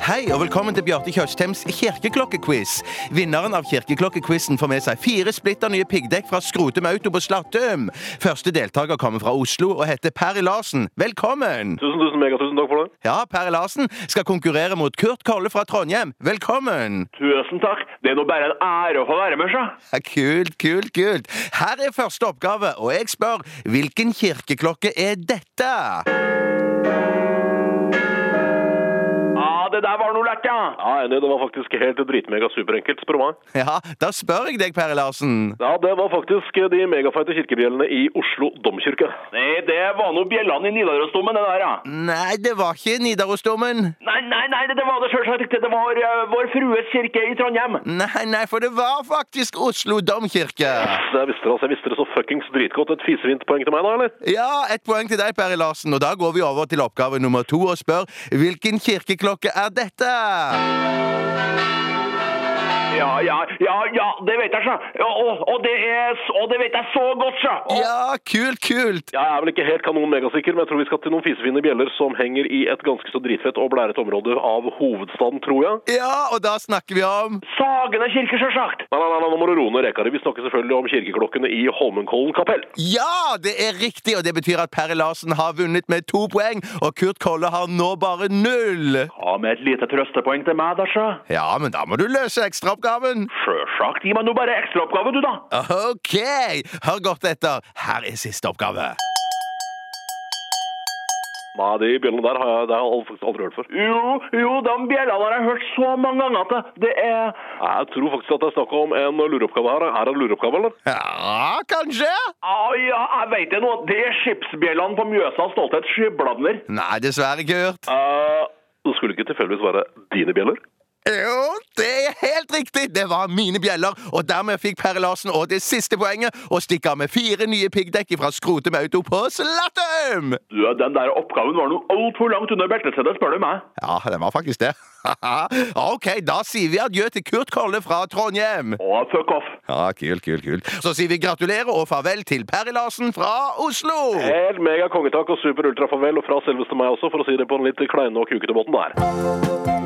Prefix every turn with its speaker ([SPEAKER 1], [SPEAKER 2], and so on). [SPEAKER 1] Hei og velkommen til Bjarte Tjøstheims kirkeklokkequiz. Vinneren av kirkeklokkequizen får med seg fire splitter nye piggdekk fra Skrotum Auto på Slattum. Første deltaker kommer fra Oslo og heter Perry Larsen. Velkommen!
[SPEAKER 2] Tusen, tusen, megatusen takk for det.
[SPEAKER 1] Ja, Perry Larsen skal konkurrere mot Kurt Kolle fra Trondheim. Velkommen!
[SPEAKER 2] Tusen takk. Det er nå bare en ære å få være med, sjø.
[SPEAKER 1] Ja, Kult, kult, kult. Her er første oppgave, og jeg spør hvilken kirkeklokke er dette?
[SPEAKER 2] Ja, det der var noe lett, ja. Ja, enig. Det var faktisk helt dritmega superenkelt, spør du meg.
[SPEAKER 1] Ja, da spør jeg deg, Perry Larsen.
[SPEAKER 2] Ja, det var faktisk eh, de megafeite kirkebjellene i Oslo domkirke. Nei, det var nå bjellene i Nidarosdomen, det der, ja.
[SPEAKER 1] Nei, det var ikke Nidarosdomen.
[SPEAKER 2] Nei, nei, nei, det, det var det sjølsagt ikke. Det var eh, Vår Frues kirke i Trondheim.
[SPEAKER 1] Nei, nei, for det var faktisk Oslo domkirke.
[SPEAKER 2] Jeg visste det, altså. Jeg visste det så fuckings dritgodt. Et fisevint poeng til meg da, eller?
[SPEAKER 1] Ja, ett poeng til deg, Perry Larsen. Og da går vi over til oppgave nummer to og spør hvilken kirkeklokke er dette?
[SPEAKER 2] Ja, ja, ja, ja, det vet jeg, sjø. Ja, og, og, det er s- og det vet jeg så godt, sjø. Og-
[SPEAKER 1] Ja, kult, kult.
[SPEAKER 2] Jeg er vel ikke helt kanon megasikker, men jeg tror vi skal til noen fisefine bjeller som henger i et ganske så dritfett og blærete område av hovedstaden, tror jeg.
[SPEAKER 1] Ja, og da snakker vi om
[SPEAKER 2] Sagene kirke, sjølsagt! Nei, nei, nei, nå må du roe ned reka di. Vi snakker selvfølgelig om kirkeklokkene i Holmenkollen kapell.
[SPEAKER 1] Ja, det er riktig, og det betyr at Perry Larsen har vunnet med to poeng, og Kurt Kolle har nå bare null.
[SPEAKER 2] Ja, med et lite trøstepoeng til meg, da, sjø.
[SPEAKER 1] Ja, men da må du løse ekstraoppgaven.
[SPEAKER 2] Sjølsagt. Gi meg nå bare ekstraoppgave, du, da.
[SPEAKER 1] Ok, hør godt etter. Her er siste oppgave.
[SPEAKER 2] Nei, de bjellene der har jeg, det har jeg al- faktisk aldri hørt før. Jo, jo, de bjellene har jeg hørt så mange ganger at det- det er Jeg tror faktisk at det er snakk om en lureoppgave her. Er det en lureoppgave, eller?
[SPEAKER 1] Ja, kanskje?
[SPEAKER 2] Ah, ja, jeg veit det nå. Det er skipsbjellene på Mjøsa Stolthet Skibladner.
[SPEAKER 1] Nei, dessverre, Kurt.
[SPEAKER 2] Eh, det skulle ikke tilfeldigvis være dine bjeller?
[SPEAKER 1] Jo, det er helt riktig! Det var mine bjeller, og dermed fikk Perre Larsen og det siste poenget og stikke av med fire nye piggdekk fra Skrotum Auto på Slattum!
[SPEAKER 2] Du, eh, den der oppgaven var noe altfor langt under beltesettet, spør du meg.
[SPEAKER 1] Ja, den var faktisk det. ok, da sier vi adjø til Kurt Kolle fra Trondheim.
[SPEAKER 2] Å, fuck off.
[SPEAKER 1] Ja, kul, kul, kul. Så sier vi gratulerer og farvel til Perre Larsen fra Oslo!
[SPEAKER 2] Helt mega kongetak og super ultra farvel, og fra selveste meg også, for å si det på en litt kleine og kukete måten der.